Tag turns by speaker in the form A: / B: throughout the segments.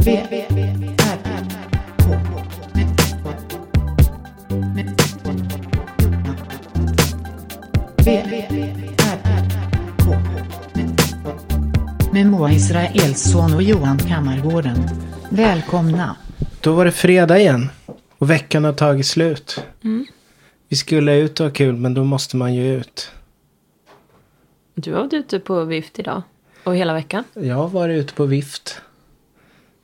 A: V, R, K. V, R, K. Med Moa Israelsson och Johan Kammargården. Välkomna.
B: Då var det fredag igen. Och veckan har tagit slut. Vi skulle ut och ha kul men då måste man ju ut.
C: Du har varit ute på vift idag. Och hela veckan.
B: Jag har varit ute på vift.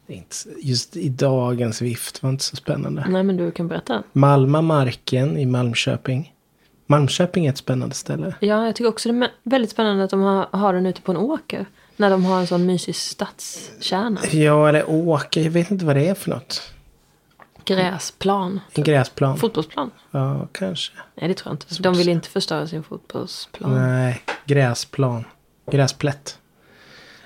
B: Det är inte s- Just i dagens vift var inte så spännande.
C: Nej men du kan berätta.
B: Malma marken i Malmköping. Malmköping är ett spännande ställe.
C: Ja, jag tycker också det är väldigt spännande att de har, har den ute på en åker. När de har en sån mysig stadskärna.
B: Ja, eller åka. Jag vet inte vad det är för något.
C: Gräsplan.
B: En gräsplan.
C: Fotbollsplan?
B: Ja, kanske.
C: Nej, det tror jag inte. De vill inte förstöra sin fotbollsplan.
B: Nej, gräsplan. Gräsplätt.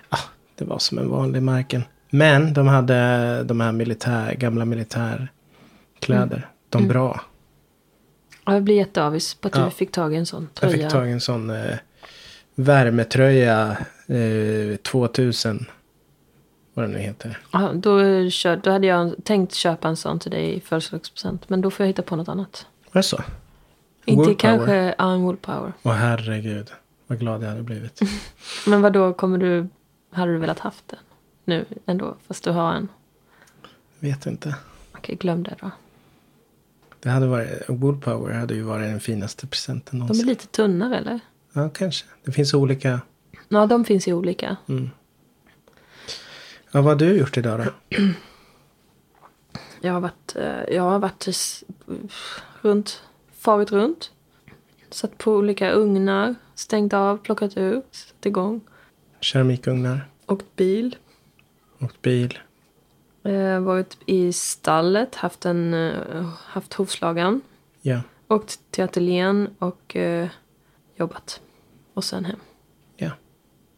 B: Ah, det var som en vanlig marken. Men de hade de här militär, gamla militärkläder.
C: Mm.
B: De bra.
C: Ja, Jag blir jätteavis på att
B: Ja.
C: du fick tag i en sån
B: Jag
C: tröja.
B: fick tag i en sån eh, värmetröja eh, 2000. Vad den nu heter.
C: Ja, då, kör, då hade jag tänkt köpa en sån till dig i födelsedagspresent. Men då får jag hitta på något annat.
B: Var det så?
C: Inte
B: Woolpower.
C: kanske ja, en Woolpower.
B: Åh herregud. Vad glad jag hade blivit.
C: Men vad då kommer du... Hade du velat haft den? Nu ändå? Fast du har en?
B: Vet inte.
C: Okej, glöm det då.
B: Det hade varit, Woodpower hade ju varit den finaste presenten
C: De är
B: någonsin.
C: lite tunnare eller?
B: Ja, kanske. Det finns olika.
C: Ja, de finns ju olika.
B: Ja, vad har du gjort idag då?
C: Jag har varit, eh, jag har varit i s- runt, farit runt. Satt på olika ugnar, stängt av, plockat ur, satt igång.
B: Keramikugnar,
C: Åkt bil,
B: åkt bil.
C: eh, varit i stallet, haft, en, eh, haft hovslagan.
B: Ja,
C: Åkt till ateljén och eh, jobbat. Och sen hem.
B: ja.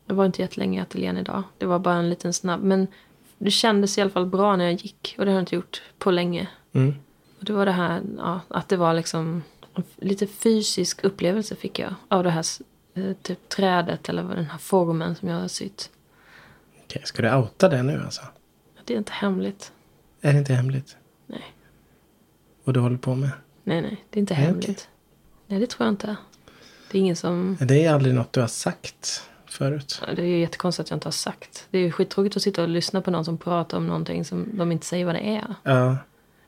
C: Jag var inte jättelänge i ateljén idag. Det var bara en liten snabb. Men det kändes i alla fall bra när jag gick. Och det har jag inte gjort på länge.
B: Mm.
C: Och det var det här ja, att det var liksom en f- lite fysisk upplevelse fick jag. Av det här s- eh, typ trädet eller vad den här formen som jag har sytt.
B: Okej, ska du outa det nu alltså?
C: Det är inte hemligt.
B: Är det inte hemligt?
C: Nej,
B: Vad du håller på med?
C: nej, nej. Det är inte
B: Nej, okej.
C: hemligt. Nej, det tror jag inte. Det är ingen som...
B: Det är aldrig något du har sagt förut.
C: Ja, Det är ju jättekonstigt att jag inte har sagt. Det är ju skittråkigt att sitta och lyssna på någon som pratar om någonting som de inte säger vad det är.
B: Ja,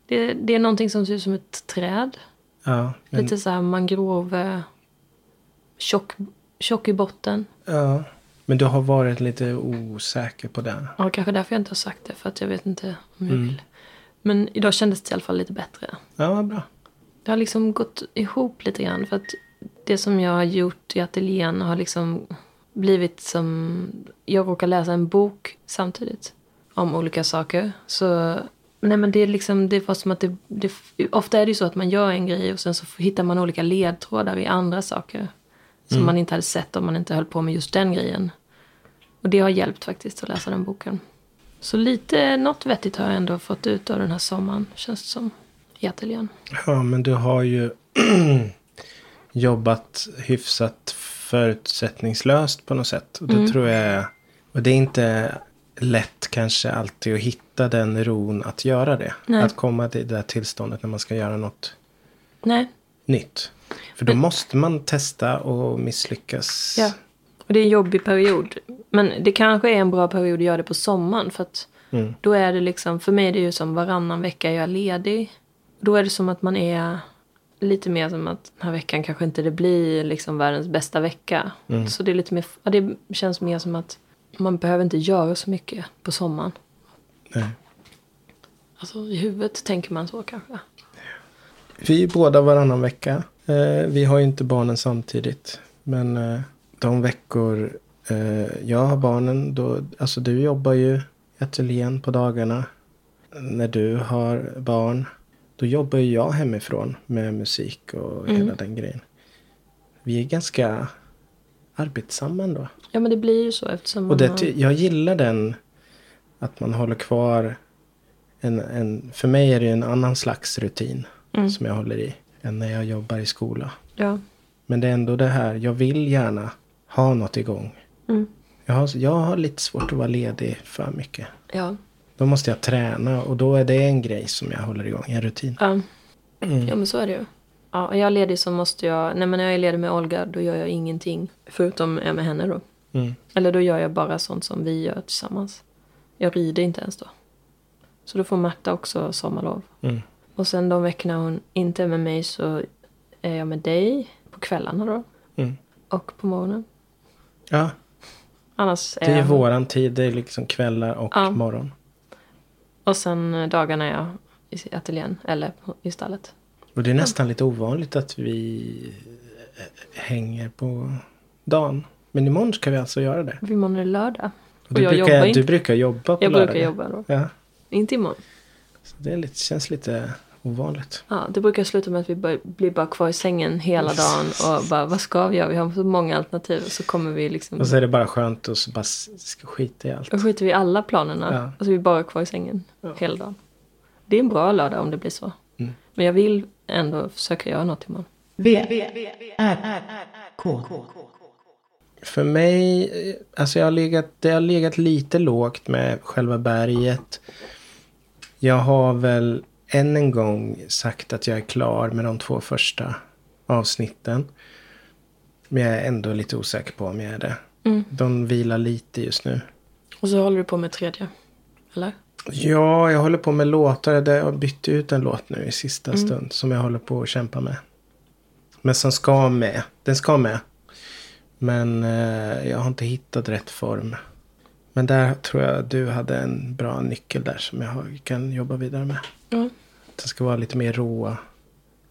C: Det, det är någonting som ser ut som ett träd.
B: ja. Men,
C: Lite så här mangrove... Tjock, tjock i botten.
B: ja. men du har varit lite osäker på det.
C: Ja, kanske därför jag inte har sagt det. För att jag vet inte om jag vill. Men idag kändes det i alla fall lite bättre.
B: Ja, vad bra.
C: Det har liksom gått ihop lite grann. För att det som jag har gjort i ateljén har liksom blivit som... Jag råkar läsa en bok samtidigt. Om olika saker. Så... Nej men det är liksom, det var som att det, det... Ofta är det ju så att man gör en grej och sen så hittar man olika ledtrådar i andra saker. Som man inte hade sett om man inte höll på med just den grejen. Och det har hjälpt faktiskt att läsa den boken. Så lite, något vettigt har jag ändå fått ut av den här sommaren, känns det som. I ateljén.
B: Ja, men du har ju jobbat hyfsat förutsättningslöst på något sätt. Och det
C: Mm.
B: tror jag Och det är inte lätt kanske alltid att hitta den ron att göra det.
C: Nej.
B: Att komma till det där tillståndet när man ska göra något
C: Nej,
B: nytt. För då måste man testa och misslyckas.
C: Ja. Och det är en jobbig period. Men det kanske är en bra period att göra det på sommaren. För att
B: Mm.
C: då är det liksom, för mig är det ju som varannan vecka är jag ledig. Då är det som att man är lite mer som att den här veckan kanske inte det blir liksom världens bästa vecka.
B: Mm.
C: Så det är lite mer, ja, det känns mer som att man behöver inte göra så mycket på sommaren.
B: Nej.
C: Alltså i huvudet tänker man så kanske.
B: Vi är båda varannan vecka. Eh, vi har ju inte barnen samtidigt. Men eh, de veckor eh, jag har barnen, då, alltså du jobbar ju i ateljén på dagarna. När du har barn, då jobbar ju jag hemifrån med musik och hela den grejen. Vi är ganska arbetsamma ändå.
C: Ja men det blir ju så eftersom man
B: Och det, typ-
C: har-
B: ty- jag gillar den, att man håller kvar en, en, för mig är det ju en annan slags rutin som jag håller i än när jag jobbar i skola.
C: ja.
B: Men det är ändå det här, jag vill gärna ha något igång.
C: Mm.
B: Jag, har, jag har lite svårt att vara ledig för mycket.
C: Ja.
B: Då måste jag träna och då är det en grej som jag håller igång, en rutin.
C: Ja.
B: Mm.
C: ja, men så är det ju. Ja, och jag är ledig så måste jag... Nej, men när jag är ledig med Olga då gör jag ingenting. Förutom jag är med henne då.
B: Mm.
C: Eller då gör jag bara sånt som vi gör tillsammans. Jag rider inte ens då. Så då får Marta också sommarlov.
B: Mm.
C: Och sen de veckorna hon inte är med mig så är jag med dig på kvällarna då.
B: Mm.
C: Och på morgonen.
B: Ja,
C: Annars är
B: det är
C: jag...
B: våran tid. Det är liksom kvällar och
C: Ja.
B: morgon.
C: Och sen eh, dagarna är jag i ateljén eller på- i stallet.
B: Och det är nästan lite ovanligt att vi eh, hänger på dagen. Men imorgon ska vi alltså göra det.
C: För Imorgon är det lördag.
B: Och
C: Och
B: du,
C: jag
B: brukar,
C: jobbar
B: du
C: inte.
B: brukar jobba på
C: Jag
B: lördagar.
C: brukar jobba då.
B: Ja,
C: Inte imorgon.
B: så det är lite, känns lite ovanligt.
C: Ja, det brukar sluta med att vi bör- blir bara kvar i sängen hela dagen och bara vad ska vi göra? Vi har så många alternativ och så kommer vi liksom
B: Och så är det bara skönt att så bara s- ska skita i allt.
C: och skiter vi i alla planerna
B: Ja.
C: och så är vi bara kvar i sängen hela dagen. Det är en bra lördag om det blir så.
B: Mm.
C: Men jag vill ändå försöka göra något imorgon.
A: V, V, R, R, K.
B: För mig, eh, alltså jag har legat, det har legat lite lågt med själva berget. Jag har väl än en gång sagt att jag är klar med de två första avsnitten. Men jag är ändå lite osäker på om jag är det. De vilar lite just nu.
C: Och så håller du på med tredje. Eller?
B: Ja, jag håller på med låtar. Där jag bytte ut en låt nu i sista stund. Som jag håller på att kämpa med. Men som ska med. Den ska med. Men eh, jag har inte hittat rätt form. Men där tror jag du hade en bra nyckel där som jag har, kan jobba vidare med.
C: Ja.
B: Den ska vara lite mer råa.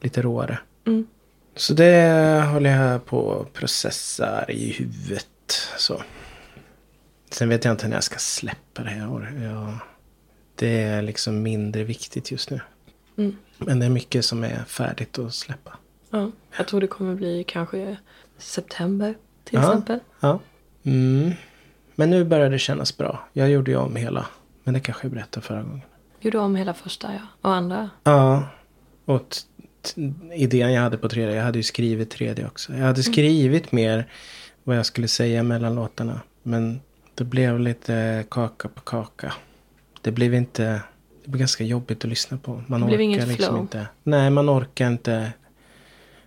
B: Lite råare.
C: Mm.
B: Så det håller jag på och processar i huvudet. Så. Sen vet jag inte när jag ska släppa det här. året. Jag, det är liksom mindre viktigt just nu.
C: Mm.
B: Men det är mycket som är färdigt att släppa.
C: ja. Jag tror det kommer bli kanske september till
B: Ja.
C: exempel.
B: Ja. Mm. Men nu börjar det kännas bra. Jag gjorde ju om hela. Men det kanske jag berättade förra gången.
C: Gjorde om hela första ja. och andra.
B: Ja. Och t- t- idén jag hade på 3D. Jag hade ju skrivit 3D också. Jag
C: Mm.
B: hade skrivit mer vad jag skulle säga mellan låtarna. Men det blev lite kaka på kaka. Det blev inte... Det blev ganska jobbigt att lyssna på. Man
C: Det blev
B: orkar
C: inget
B: liksom
C: flow.
B: inte. Nej, man orkar inte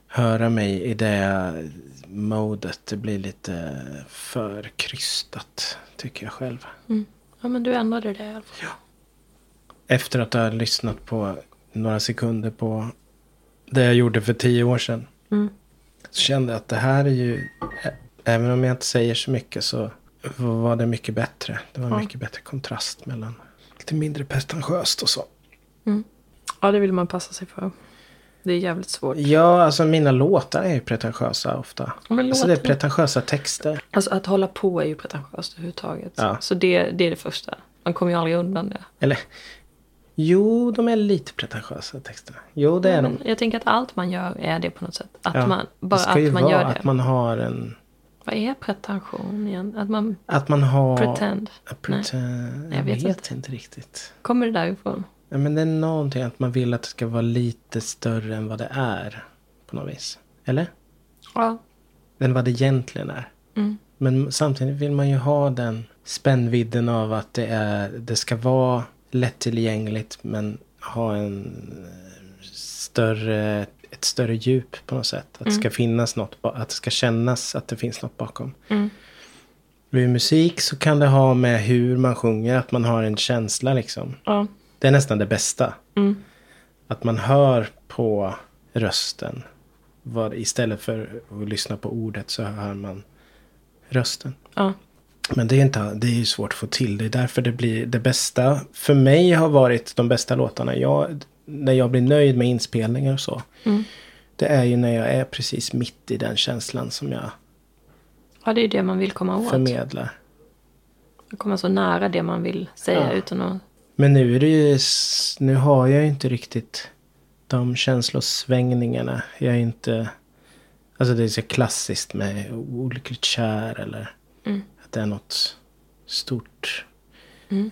B: höra mig i det modet. Det blir lite för krystat, tycker jag själv.
C: Ja men du ändrade det i alla fall.
B: Efter att ha lyssnat på några sekunder på det jag gjorde för tio år sedan.
C: Mm.
B: Så kände jag att det här är ju, ä- även om jag inte säger så mycket så var det mycket bättre. Det var
C: Ja.
B: mycket bättre kontrast mellan lite mindre pretentiöst och så.
C: Ja det vill man passa sig för. Det är jävligt svårt.
B: Ja, alltså mina låtar är ju pretentiösa ofta.
C: Ja, men
B: alltså det är
C: låtarna-
B: pretentiösa texter.
C: Alltså att hålla på är ju pretentiöst överhuvudtaget.
B: Ja.
C: Så det, det är det första. Man kommer ju aldrig undan det.
B: Eller, jo, de är lite pretentiösa texterna. Jo, det är de.
C: Jag tänker att allt man gör är det på något sätt. Att
B: Ja,
C: man, bara
B: det ska ju
C: att man
B: vara
C: gör det.
B: att man har en...
C: Vad är pretension igen? Att man
B: Att man har...
C: pretend.
B: A pretend...
C: Nej,
B: jag vet, inte. riktigt.
C: Kommer det därifrån?
B: Ja, men det är någonting att man vill att det ska vara lite större än vad det är. På något vis. Eller?
C: Ja.
B: Än vad det egentligen är.
C: Mm.
B: Men samtidigt vill man ju ha den spännvidden av att det, är, det ska vara lättillgängligt men ha en eh, större, ett större djup på något sätt. Att
C: Mm.
B: det ska finnas något, ba- att det ska kännas att det finns något bakom.
C: Mm.
B: Och I musik så kan det ha med hur man sjunger, att man har en känsla liksom.
C: ja.
B: Det är nästan det bästa.
C: Mm.
B: Att man hör på rösten. Vad, istället för att lyssna på ordet så hör man rösten.
C: Ja.
B: Men det är, inte, det är ju svårt att få till. Det är därför det blir det bästa. För mig har varit de bästa låtarna. Jag, när jag blir nöjd med inspelningar och så. Det är ju när jag är precis mitt i den känslan som jag
C: ja, det är ju det man vill komma åt.
B: förmedlar.
C: Att Komma så nära det man vill säga
B: Ja.
C: utan att...
B: Men nu är det ju, s- nu har jag ju inte riktigt de känslosvängningarna. Jag är inte, alltså det är så klassiskt med olyckligt kär eller att det är något stort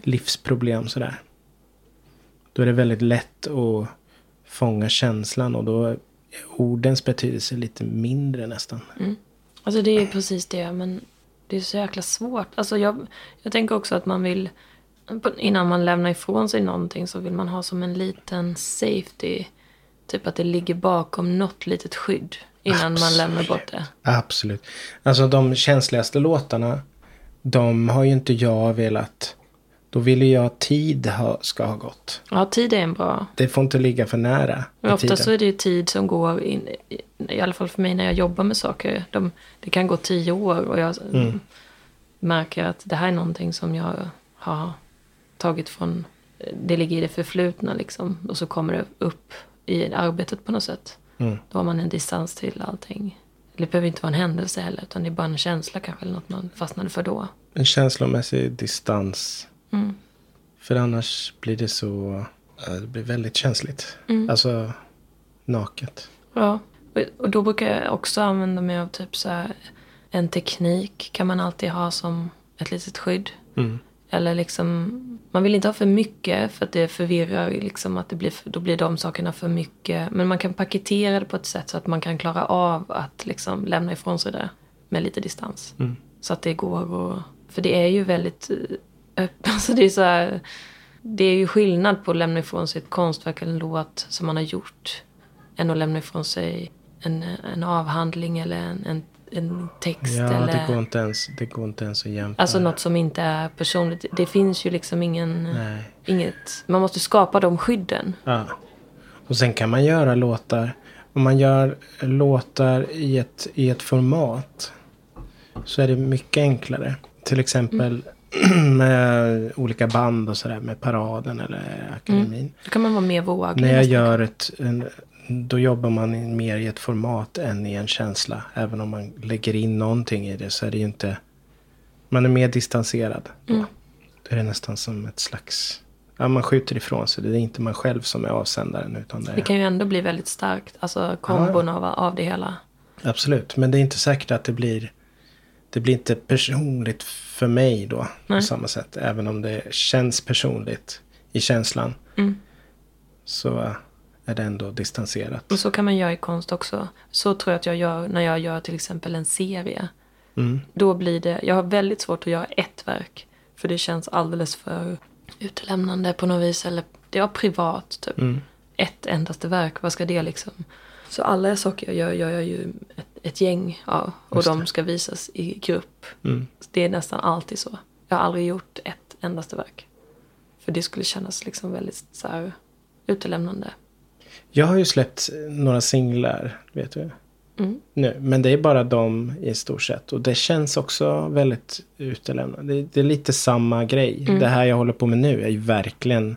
B: livsproblem sådär. Då är det väldigt lätt att fånga känslan och då är ordens betydelse lite mindre nästan.
C: Alltså det är ju precis det, men det är så jäkla svårt. Alltså jag, jag tänker också att man vill på- innan man lämnar ifrån sig någonting så vill man ha som en liten safety. Typ att det ligger bakom något litet skydd innan man lämnar bort det.
B: Absolut. Alltså de känsligaste låtarna, de har ju inte jag velat. Då vill ju jag att tid ha, ska ha gått.
C: Ja, tid är en bra.
B: Det får inte ligga för nära.
C: Men
B: i
C: ofta så
B: tiden.
C: är det ju tid som går, in, i- i alla fall för mig när jag jobbar med saker. De, det kan gå tio år och jag märker att det här är någonting som jag har tagit från, det ligger i det förflutna liksom. Och så kommer det upp i arbetet på något sätt. Då har man en distans till allting. Det behöver inte vara en händelse heller, utan det är bara en känsla kanske, eller något man fastnade för då.
B: En känslomässig distans.
C: Mm.
B: För annars blir det så... ja, Det blir väldigt känsligt.
C: Mm.
B: Alltså naket.
C: Ja, och- och då brukar jag också använda mig av typ så här, en teknik kan man alltid ha som ett litet skydd. Eller liksom, man vill inte ha för mycket för att det förvirrar liksom att det blir, då blir de sakerna för mycket. Men man kan paketera det på ett sätt så att man kan klara av att liksom lämna ifrån sig det med lite distans.
B: Mm.
C: Så att det går att, för det är ju väldigt eh, öpp- alltså det är så här, det är ju skillnad på att lämna ifrån sig ett konstverk eller en låt som man har gjort än att lämna ifrån sig en, en avhandling eller en, en, en text.
B: Ja,
C: eller...
B: det, går inte ens, det går inte ens att jämföra.
C: Alltså något som inte är personligt. Det finns ju liksom ingen...
B: Nej.
C: Inget, man måste skapa de skydden.
B: Ja. Och sen kan man göra låtar. Om man gör låtar i ett, i ett format så är det mycket enklare. Till exempel med olika band och sådär. Med Paraden eller Akademin.
C: Då kan man vara mer våglig.
B: När jag
C: nästan.
B: gör ett... En, då jobbar man i- mer i ett format än i en känsla. Även om man lägger in någonting i det så är det ju inte... Man är mer distanserad. Då, då är det nästan som ett slags... Ja, man skjuter ifrån sig. Det är inte man själv som är avsändaren. Utan det
C: Det
B: är,
C: kan ju ändå bli väldigt starkt. Alltså kombon av, av det hela.
B: Absolut, men det är inte säkert att det blir... Det blir inte personligt för mig då. På samma sätt. Även om det känns personligt i känslan. Så är det ändå distanserat.
C: Men så kan man göra i konst också. Så tror jag att jag gör när jag gör till exempel en serie.
B: Mm,
C: Då blir det, jag har väldigt svårt att göra ett verk. För det känns alldeles för utelämnande på något vis. Eller det är privat typ.
B: Mm.
C: Ett endaste verk, vad ska det liksom? Så alla saker jag gör, gör jag ju ett, ett gäng av. Och de ska visas i grupp.
B: mm.
C: Det är nästan alltid så. Jag har aldrig gjort ett endaste verk. För det skulle kännas liksom väldigt så här utelämnande.
B: Jag har ju släppt några singlar, vet du.
C: Mm.
B: Nu, men det är bara dem i stort sett. Och det känns också väldigt utelämnande. Det, det är lite samma grej.
C: Mm.
B: Det här jag håller på med nu är ju verkligen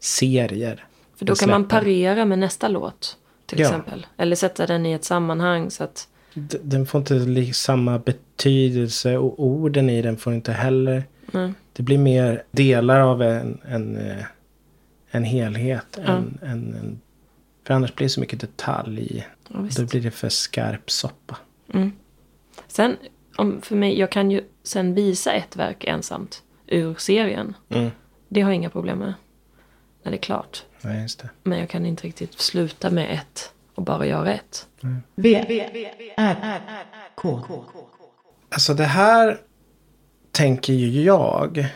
B: serier.
C: För då
B: Jag
C: kan man
B: släpper.
C: parera med nästa låt. Till
B: Ja.
C: exempel. Eller sätta den i ett sammanhang så att...
B: D- Den får inte li- samma betydelse och orden i den får inte heller... Det blir mer delar av en, en, eh, en helhet. En, en, en, för annars blir det så mycket detalj.
C: Ja, visst.
B: Då blir det för skarp soppa.
C: Sen, om, för mig, jag kan ju sen visa ett verk ensamt ur serien.
B: Mm.
C: Det har jag inga problem med. När det är klart.
B: Nej, just det.
C: Men jag kan inte riktigt sluta med ett och bara göra ett.
A: V, R, K.
B: Alltså det här tänker ju jag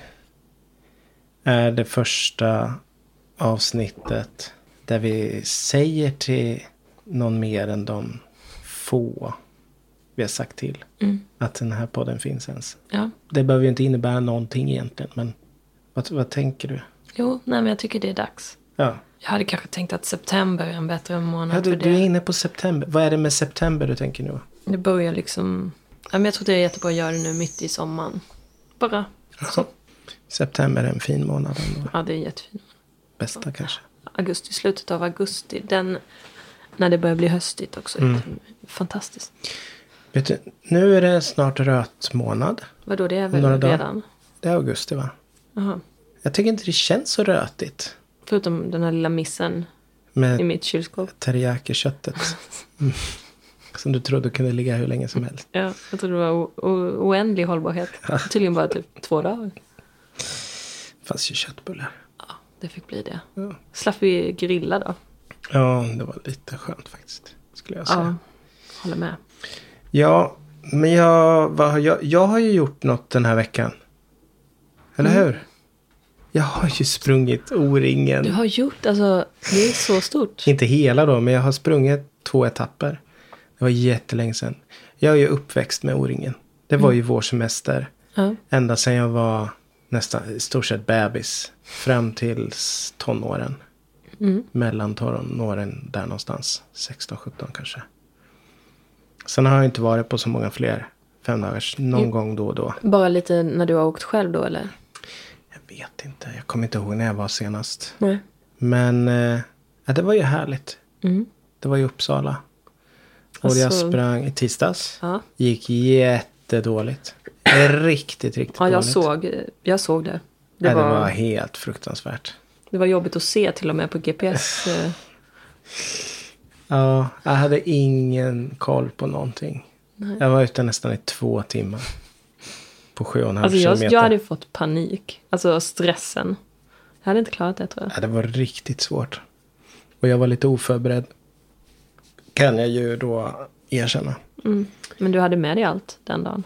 B: är det första avsnittet där vi säger till någon mer än de få vi har sagt till att den här podden finns ens.
C: Ja.
B: Det behöver ju inte innebära någonting egentligen men vad, vad tänker du?
C: Jo, nej men jag tycker det är dags.
B: Ja.
C: Jag hade kanske tänkt att september är en bättre månad
B: Ja, du,
C: för det.
B: du är inne på september. Vad är det med september du tänker nu?
C: Det börjar liksom... Ja, men jag tror det är jättebra att göra det nu mitt i sommaren. Bara. Så.
B: September är en fin månad ändå.
C: Ja, det är jättefint.
B: Bästa kanske.
C: augusti, slutet av augusti. Den, när det börjar bli höstigt också.
B: Mm.
C: Fantastiskt.
B: Vet du, nu är det snart röt månad.
C: Vadå, det är väl
B: Några dagar.
C: redan?
B: Det är augusti va?
C: Jaha.
B: Jag tycker inte det känns så rötigt.
C: Förutom den här lilla missen i
B: Med
C: mitt kylskåp.
B: teriyaki-köttet. Mm. Som du trodde kunde ligga hur länge som helst.
C: Ja, jag trodde det var o- o- oändlig hållbarhet. Tydligen bara typ två dagar.
B: Det fanns ju köttbullar.
C: Det fick bli det. Slapp vi grilla då.
B: Ja, det var lite skönt faktiskt. Skulle jag säga.
C: Ja, håller med.
B: Ja, men
C: Mm.
B: jag, vad, har jag, jag har ju gjort något den här veckan. Eller hur? Jag har ju sprungit O-ringen.
C: Du har gjort, alltså det är så stort.
B: Inte hela då, men jag har sprungit två etapper. Det var jättelänge sedan. Jag är ju uppväxt med O-ringen. Det var
C: Mm.
B: ju vår semester.
C: Ja.
B: Ända sedan jag var nästan i stort sett bebis. Fram till tonåren.
C: Mm.
B: Mellan tonåren där någonstans. 16-17 kanske. Sen har jag inte varit på så många fler femdagars. Någon gång då och då.
C: Bara lite när du har åkt själv då eller?
B: Jag vet inte. Jag kommer inte ihåg när jag var senast.
C: Nej.
B: Men eh, ja, det var ju härligt. Det var i Uppsala. Och jag
C: Mm. Alltså-
B: sprang i tisdags.
C: Ja.
B: Gick jättedåligt. Riktigt, riktigt
C: Ja, jag
B: dåligt.
C: såg, jag såg det.
B: Det,
C: Det,
B: ja,
C: var,
B: det var helt fruktansvärt.
C: det var jobbigt att se till och med på GPS. eh,
B: Ja, jag hade ingen koll på någonting. Jag var ute nästan i två timmar. På sju och en halv
C: Alltså jag,
B: kilometer.
C: jag hade ju fått panik. Alltså stressen. Jag hade inte klarat det tror jag.
B: Ja, det var riktigt svårt. Och jag var lite oförberedd. Kan jag ju då erkänna.
C: Mm. Men du hade med dig allt den dagen.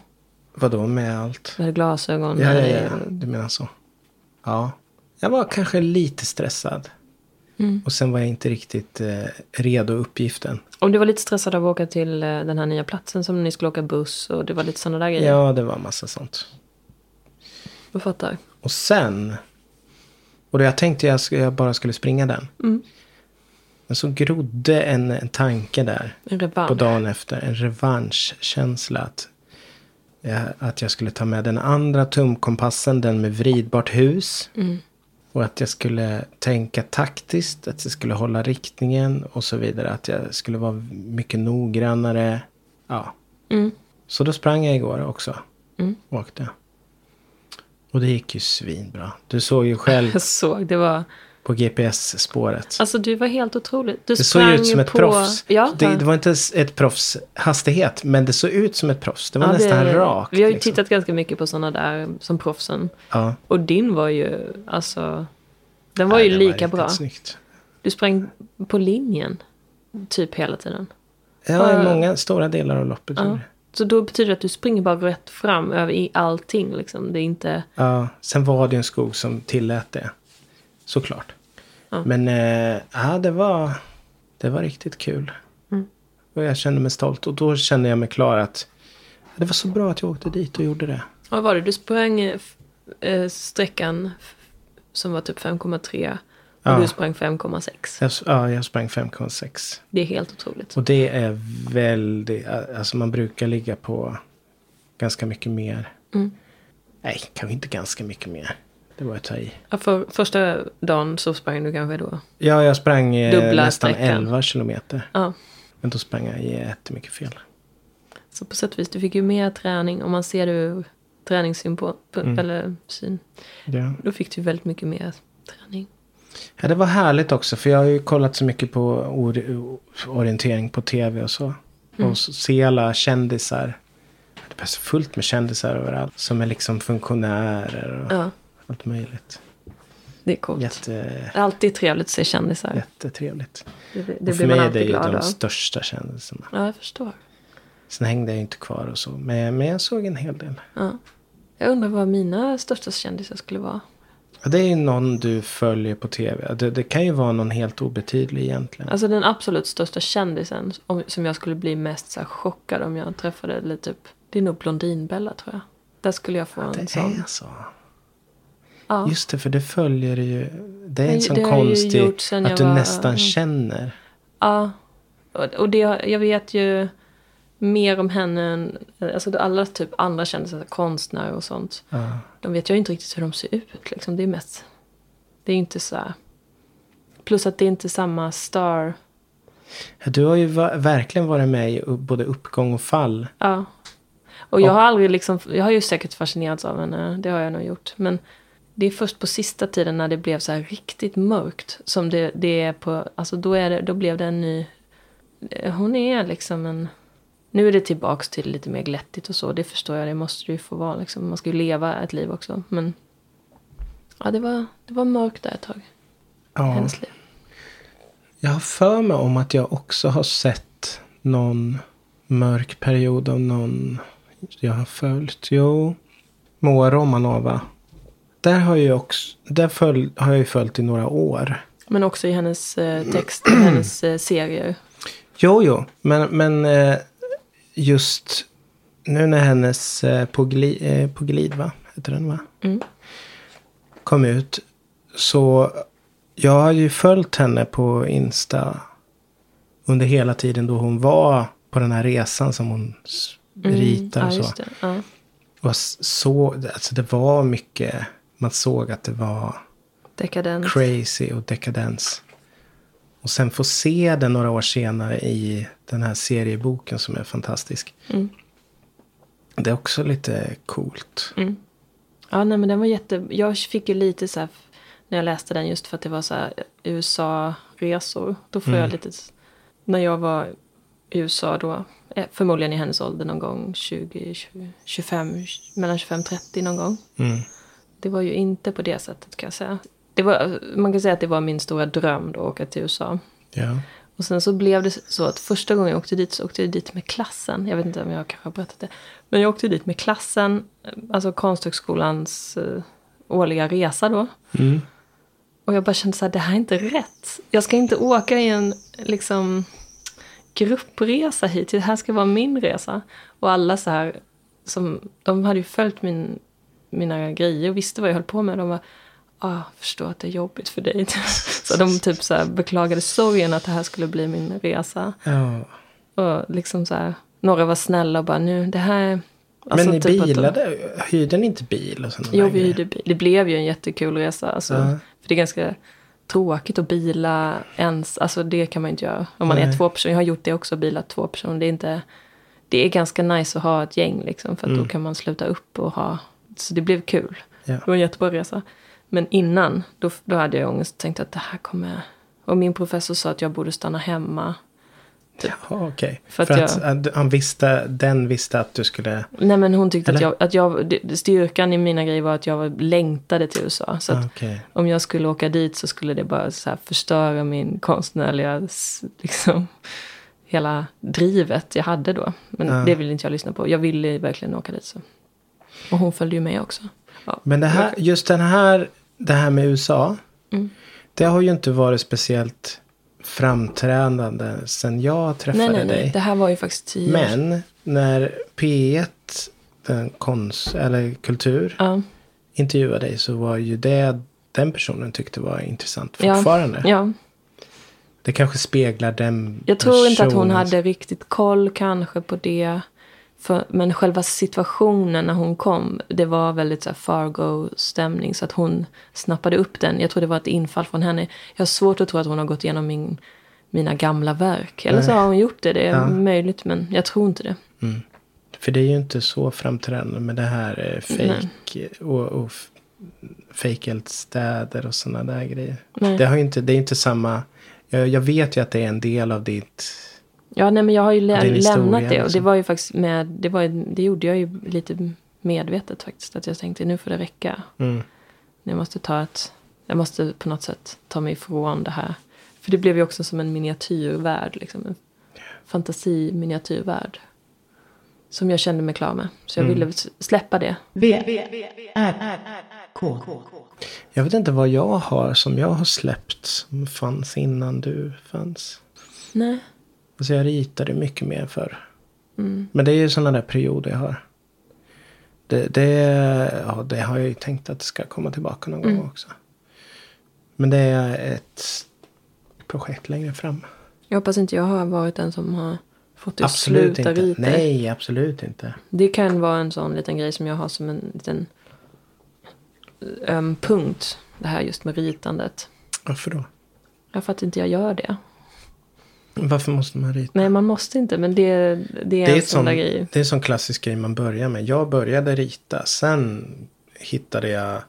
B: Vadå med allt?
C: Du hade glasögon.
B: Ja, ja,
C: med
B: ja.
C: dig.
B: Du menar så. Ja. Jag var kanske lite stressad.
C: Mm.
B: Och sen var jag inte riktigt eh, redo uppgiften.
C: Om du var lite stressad av att åka till eh, den här nya platsen som ni skulle åka buss och det var lite sådana där grejer.
B: Ja, det var massa sånt.
C: Jag fattar.
B: Och sen. Och då jag tänkte jag, sk- jag bara skulle springa den. Men så grodde en, en tanke där.
C: En
B: På
C: revansch.
B: dagen efter. En revanschkänsla. Att, eh, att jag skulle ta med den andra tumkompassen. Den med vridbart hus. Och att jag skulle tänka taktiskt. Att jag skulle hålla riktningen. Och så vidare. Att jag skulle vara mycket noggrannare. Ja. Så då sprang jag igår också. Åkte. Och det gick ju svinbra. Du såg ju själv
C: Jag såg, det var...
B: på GPS-spåret.
C: Alltså du var helt otroligt. Du
B: Det såg ju ut som ett
C: på...
B: proffs.
C: Ja,
B: Det, det var inte ens ett proffs hastighet, men det såg ut som ett proffs. Det var
C: Ja,
B: nästan
C: det-
B: rakt.
C: Vi har ju
B: liksom.
C: tittat ganska mycket på sådana där som proffsen.
B: Ja.
C: Och din var ju, alltså... Den var
B: Nej,
C: ju
B: det
C: lika
B: riktigt
C: bra.
B: Snyggt.
C: Du sprang på linjen. Typ hela tiden.
B: Ja, i många stora delar av loppet. gjorde det.
C: Så då betyder det att du springer bara rätt fram över i allting liksom. Det är inte...
B: Ja, sen var det ju en skog som tillät det. Såklart. Men eh, ja, det, var, det var riktigt kul.
C: Mm.
B: Och jag kände mig stolt. Och då kände jag mig klar att det var så bra att jag åkte dit och gjorde det.
C: Vad var det? Du sprang eh, f- eh, sträckan f- som var typ 5,3. Och
B: Ja.
C: du sprang 5,6.
B: Jag, ja, jag sprang 5,6.
C: Det är helt otroligt.
B: Och det är väldigt, alltså man brukar ligga på ganska mycket mer.
C: Mm.
B: Nej, kanske inte ganska mycket mer. Det var att ta i.
C: Ja, för första dagen så sprang du kanske då.
B: Ja, jag sprang eh,
C: Dubbla
B: nästan
C: sträckan.
B: 11 kilometer.
C: Ja.
B: Men då sprang jag jättemycket fel.
C: Så på sätt och vis, du fick ju mer träning. Om man ser det ur träningssynpunkt.
B: Mm.
C: Eller syn.
B: Ja.
C: Då fick du väldigt mycket mer träning.
B: ja, det var härligt också. För jag har ju kollat så mycket på or- orientering på tv och så.
C: Mm.
B: Och så se alla kändisar. Det är så fullt med kändisar överallt. Som är liksom funktionärer och
C: Ja,
B: allt möjligt.
C: det är coolt.
B: Jätte,
C: Det är Alltid trevligt att se kändisar.
B: jättetrevligt.
C: Det, det
B: Och för
C: blir
B: mig
C: man
B: är det
C: alltid
B: ju
C: glad
B: de
C: av.
B: största kändisarna.
C: Ja, jag förstår.
B: Sen hängde jag ju inte kvar och så. Men, men jag såg en hel del.
C: Jag undrar vad mina största kändisar skulle vara.
B: Ja, Det är ju någon du följer på tv. Det, det kan ju vara någon helt obetydlig egentligen.
C: Alltså den absolut största kändisen om, som jag skulle bli mest så här, chockad om jag träffade eller typ, det är nog Blondinbella tror jag. Där skulle jag få en
B: det
C: sån.
B: är så.
C: Ja.
B: Just det, för det följer ju. Det är en
C: Men
B: sån
C: det har jag ju
B: konstig
C: gjort sen
B: att
C: jag
B: du
C: var-
B: nästan
C: mm.
B: känner.
C: Ja. Och, och det, jag vet ju mer om henne än alltså alla typ andra kändisar, konstnärer och sånt. De vet jag ju inte riktigt hur de ser ut liksom. Det är mest, det är inte så här. Plus att det är inte samma star.
B: Ja, Du har ju va- verkligen varit med i u- både uppgång och fall.
C: Ja. Och jag har aldrig liksom, jag har ju säkert fascinerats av henne, det har jag nog gjort. Men det är först på sista tiden när det blev så här riktigt mörkt som det, det är på, alltså då, är det, då blev det en ny, eh, hon är liksom en, nu är det tillbaks till lite mer glättigt och så, det förstår jag, det måste det ju få vara liksom. Man ska ju leva ett liv också, men ja det var, det var mörkt där ett tag, i
B: Ja.
C: hennes liv.
B: Jag har för mig om att jag också har sett någon mörk period av någon jag har följt. Jo, Moa Romanova Där har jag, också, där följ, har jag ju följt i några år.
C: Men också i hennes eh, text, i hennes eh, serier.
B: Jo, jo, men, men eh, just nu när hennes eh, på, gli, eh, på glid, va? Heter den, va?
C: Mm.
B: Kom ut. Så jag har ju följt henne på Insta under hela tiden då hon var på den här resan som hon s- ritar
C: Mm, ja,
B: och så.
C: just det. Ja.
B: Och s- så, alltså det var mycket, man såg att det var
C: Dekadent.
B: crazy och dekadens. Och sen få se den några år senare i den här serieboken som är fantastisk.
C: Mm.
B: Det är också lite coolt.
C: Mm. Ja, nej men den var jätte... Jag fick ju lite så här när jag läste den just för att det var så här USA-resor. Då får jag lite... När jag var i USA då, eh, förmodligen i hennes ålder någon gång 20, 20 25, mellan 25 30 någon gång.
B: Mm.
C: Det var ju inte på det sättet kan jag säga. Det var, man kan säga att det var min stora dröm då att åka till USA.
B: Ja.
C: Och sen så blev det så att första gången jag åkte dit så åkte jag dit med klassen. Jag vet inte om jag kanske har berättat det. Men jag åkte dit med klassen, eh, alltså Konsthögskolans eh, årliga resa då.
B: Mm.
C: Och jag bara kände så här, det här är inte rätt. Jag ska inte åka i en liksom gruppresa hit. Det här ska vara min resa. Och alla så här, som, de hade ju följt min, mina grejer och visste vad jag höll på med. De var ah, jag förstår att det är jobbigt för dig. så de typ så här beklagade sorgen att det här skulle bli min resa.
B: ja.
C: Och liksom så här, några var snälla och bara, nu det här...
B: Men ni
C: typ att de-
B: bilade? Hyrde ni inte bil? Och såna
C: Jo,
B: där
C: vi
B: grejer?
C: hyrde bil. Det blev ju en jättekul resa. Alltså,
B: Ja.
C: För det är ganska tråkigt att bila ens. Alltså det kan man ju inte göra. Om man är
B: Nej.
C: två personer. Jag har gjort det också, bilat två personer. Det är, inte, det är ganska nice att ha ett gäng liksom. För att då kan man sluta upp och ha. Så det blev kul.
B: Mm. Ja.
C: Det var en jättebra resa. Men innan, då, då hade jag ångest och tänkte att det här kommer... Och min professor sa att jag borde stanna hemma.
B: Jaha, okej.
C: För
B: För,
C: att
B: att, att han visste, den visste att du skulle...
C: Nej men hon tyckte
B: Eller?
C: att jag, att jag... det- Styrkan i mina grejer var att jag var- längtade till USA. Så att
B: Ah, Okej.
C: om jag skulle åka dit så skulle det bara så här förstöra min konstnärliga, s- liksom, hela drivet jag hade då. Men
B: Ja.
C: det ville inte jag lyssna på. Jag ville verkligen åka dit. Så. Och hon följde ju med också. Ja. Mm.
B: Men det här, just den här, det här med USA. Det har ju inte varit speciellt framträdande sen jag träffade
C: Nej, nej,
B: dig.
C: nej. Det här var ju faktiskt tio år sedan.
B: Men när P1 den konst, eller kultur
C: Ja,
B: intervjuade dig så var ju det den personen tyckte var intressant
C: Ja.
B: fortfarande.
C: ja.
B: Det kanske speglar den
C: Jag tror inte att hon
B: personens-
C: hade riktigt koll kanske på det. För, men själva situationen när hon kom, det var väldigt så här Fargo-stämning. Så att hon snappade upp den. Jag tror det var ett infall från henne. Jag har svårt att tro att hon har gått igenom min, mina gamla verk. Eller så har hon gjort det, det är
B: Ja.
C: möjligt. Men jag tror inte det.
B: För det är ju inte så framträdande med det här eh, fake och, och f- fake-eldstäder och sådana där grejer.
C: Nej.
B: Det, har ju inte, det är inte samma. Jag, jag vet ju att det är en del av ditt.
C: Ja, nej, men jag har ju lä-
B: Det är en historia,
C: lämnat det. Och det
B: liksom.
C: var ju faktiskt med, det, var, ju- det gjorde jag ju lite medvetet faktiskt. Att jag tänkte nu får det räcka.
B: Mm.
C: Jag måste ta ett, jag måste på något sätt ta mig ifrån det här. För det blev ju också som en miniatyrvärld, liksom. En fantasiminiatyrvärld. Som jag kände mig klar med. Så
B: Mm.
C: jag ville s- släppa det.
A: V, R, R, K.
B: Jag vet inte vad jag har som jag har släppt som fanns innan du fanns.
C: Nej.
B: Alltså jag ritade mycket mer förr.
C: Mm.
B: Men det är ju sådana där perioder jag har. Det, det, ja, det har jag ju tänkt att det ska komma tillbaka någon
C: Mm.
B: gång också. Men det är ett projekt längre fram.
C: Jag hoppas inte jag har varit den som har fått dig att
B: absolut
C: sluta
B: inte.
C: rita.
B: Nej, absolut inte.
C: Det kan vara en sån liten grej som jag har som en liten öm punkt. Det här just med ritandet.
B: Varför då?
C: Jag fattar inte jag gör det.
B: Varför måste man rita?
C: Nej, man måste inte. Men det, det är
B: Det är,
C: en
B: ett
C: sån
B: sån,
C: där grej.
B: det är en sån klassisk grej man börjar med. Jag började rita, sen hittade jag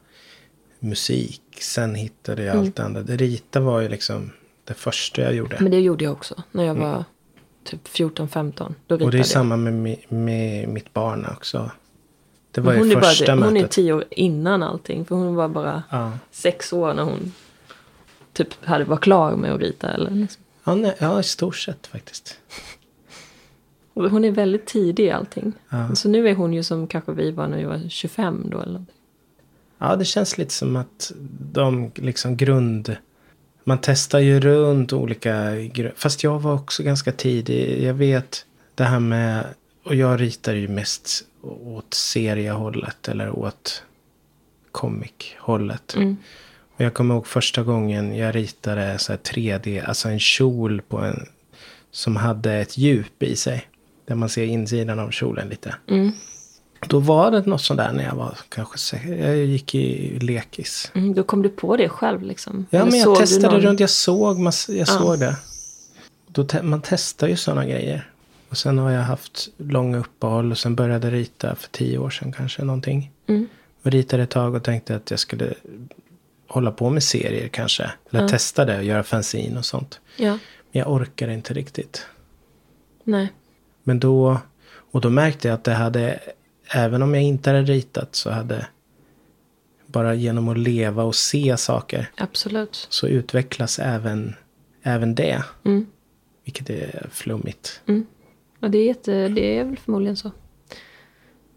B: musik, sen hittade jag
C: Mm.
B: allt det andra. Det rita var ju liksom det första jag gjorde.
C: Men det gjorde jag också när jag var typ 14-15. Då ritade
B: Mm. Och det är
C: jag.
B: samma med, mi- med mitt barn också. Det var
C: Men hon
B: ju
C: är bara-
B: första
C: Hon är
B: mötet.
C: tio år innan allting. För hon var bara
B: Ja.
C: sex år när hon typ hade var klar med att rita. Eller liksom.
B: Han är, ja, i stort sett faktiskt.
C: Och Hon är väldigt tidig i allting.
B: Ja.
C: Så nu är hon ju som kanske vi var när vi var 25 då. Eller någonting.
B: Ja, det känns lite som att de liksom grund... Man testar ju runt olika... gru- Fast jag var också ganska tidig. Jag vet det här med... Och jag ritar ju mest åt seriehållet eller åt comic-hållet.
C: Mm.
B: Och jag kommer ihåg första gången jag ritade så här 3D, alltså en kjol på en... Som hade ett djup i sig. Där man ser insidan av kjolen lite.
C: Mm.
B: Då var det något sånt där när jag var kanske sex, Jag gick i lekis.
C: Mm. Då kom du på det själv liksom?
B: Ja,
C: Eller
B: men jag
C: såg du
B: testade
C: någon- Ah.
B: runt. Jag såg, mass, jag
C: Ja.
B: såg det. Då te, man testar ju sådana grejer. Och sen har jag haft långa uppehåll och sen började rita för tio år sedan kanske någonting.
C: Mm.
B: Och ritade ett tag och tänkte att jag skulle hålla på med serier kanske. Eller
C: Ah.
B: testa det och göra fanzine och sånt.
C: Ja,
B: Men jag orkade inte riktigt.
C: nej.
B: Men då, och då märkte jag att det hade, även om jag inte hade ritat så hade, bara genom att leva och se saker
C: Absolut.
B: så utvecklas även, även det.
C: Mm.
B: Vilket är flummigt.
C: Ja, det är, jätte, det är väl förmodligen så.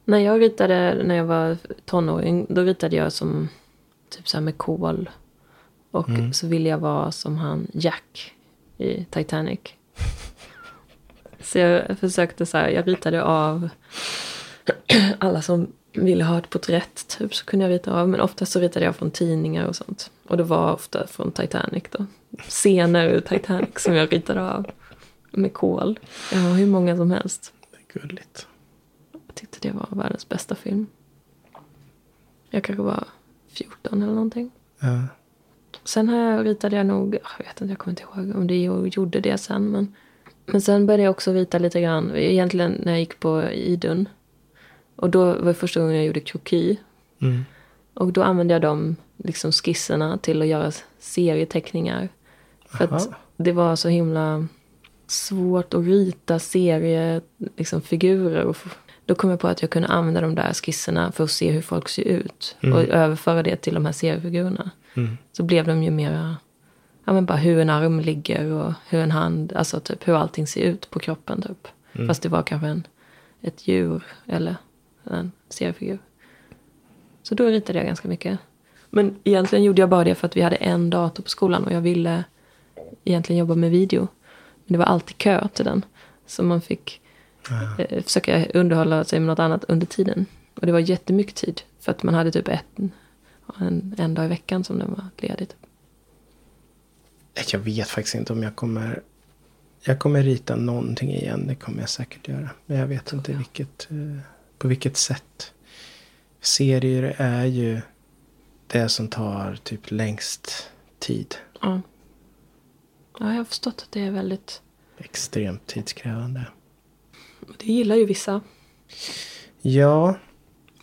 C: När jag ritade när jag var tonåring, då ritade jag som typ så här med kol. Och så ville jag vara som han Jack i Titanic. Så jag försökte så här, jag ritade av alla som ville ha ett porträtt typ så kunde jag rita av. Men ofta så ritade jag från tidningar och sånt. Och det var ofta från Titanic då. Scener ur Titanic som jag ritade av med kol. Jag har hur många som helst.
B: Det är gulligt.
C: Jag tyckte det var världens bästa film. Jag kanske var 14 eller någonting.
B: Ja.
C: Sen har jag ritade jag nog, jag vet inte, jag kommer inte ihåg om det jag gjorde det sen. Men, men sen började jag också rita lite grann, egentligen när jag gick på Idun. Och då var det första gången jag gjorde kroki.
B: Mm.
C: Och då använde jag de liksom, skisserna till att göra serieteckningar. För att
B: Aha.
C: det var så himla svårt att rita seriefigurer. Liksom, figurer och f- då kom jag på att jag kunde använda de där skisserna för att se hur folk ser ut. Och överföra det till de här seriefigurerna. Så blev de ju mera, ja men bara hur en arm ligger och hur en hand, alltså typ hur allting ser ut på kroppen typ. Fast det var kanske en, ett djur eller en seriefigur. Så då ritade jag ganska mycket. Men egentligen gjorde jag bara det för att vi hade en dator på skolan och jag ville egentligen jobba med video. Men det var alltid kö till den. Så man fick eh, försöka underhålla sig med något annat under tiden. Och det var jättemycket tid. För att man hade typ ett, en, en dag i veckan som den var ledig. typ.
B: Eh, Jag vet faktiskt inte om jag kommer... Jag kommer rita någonting igen. Det kommer jag säkert göra. Men jag vet inte vilket, eh, på vilket sätt. Serier är ju det som tar typ längst tid.
C: Ja. ja, jag har förstått att det är väldigt...
B: Extremt tidskrävande.
C: Det gillar ju vissa.
B: Ja,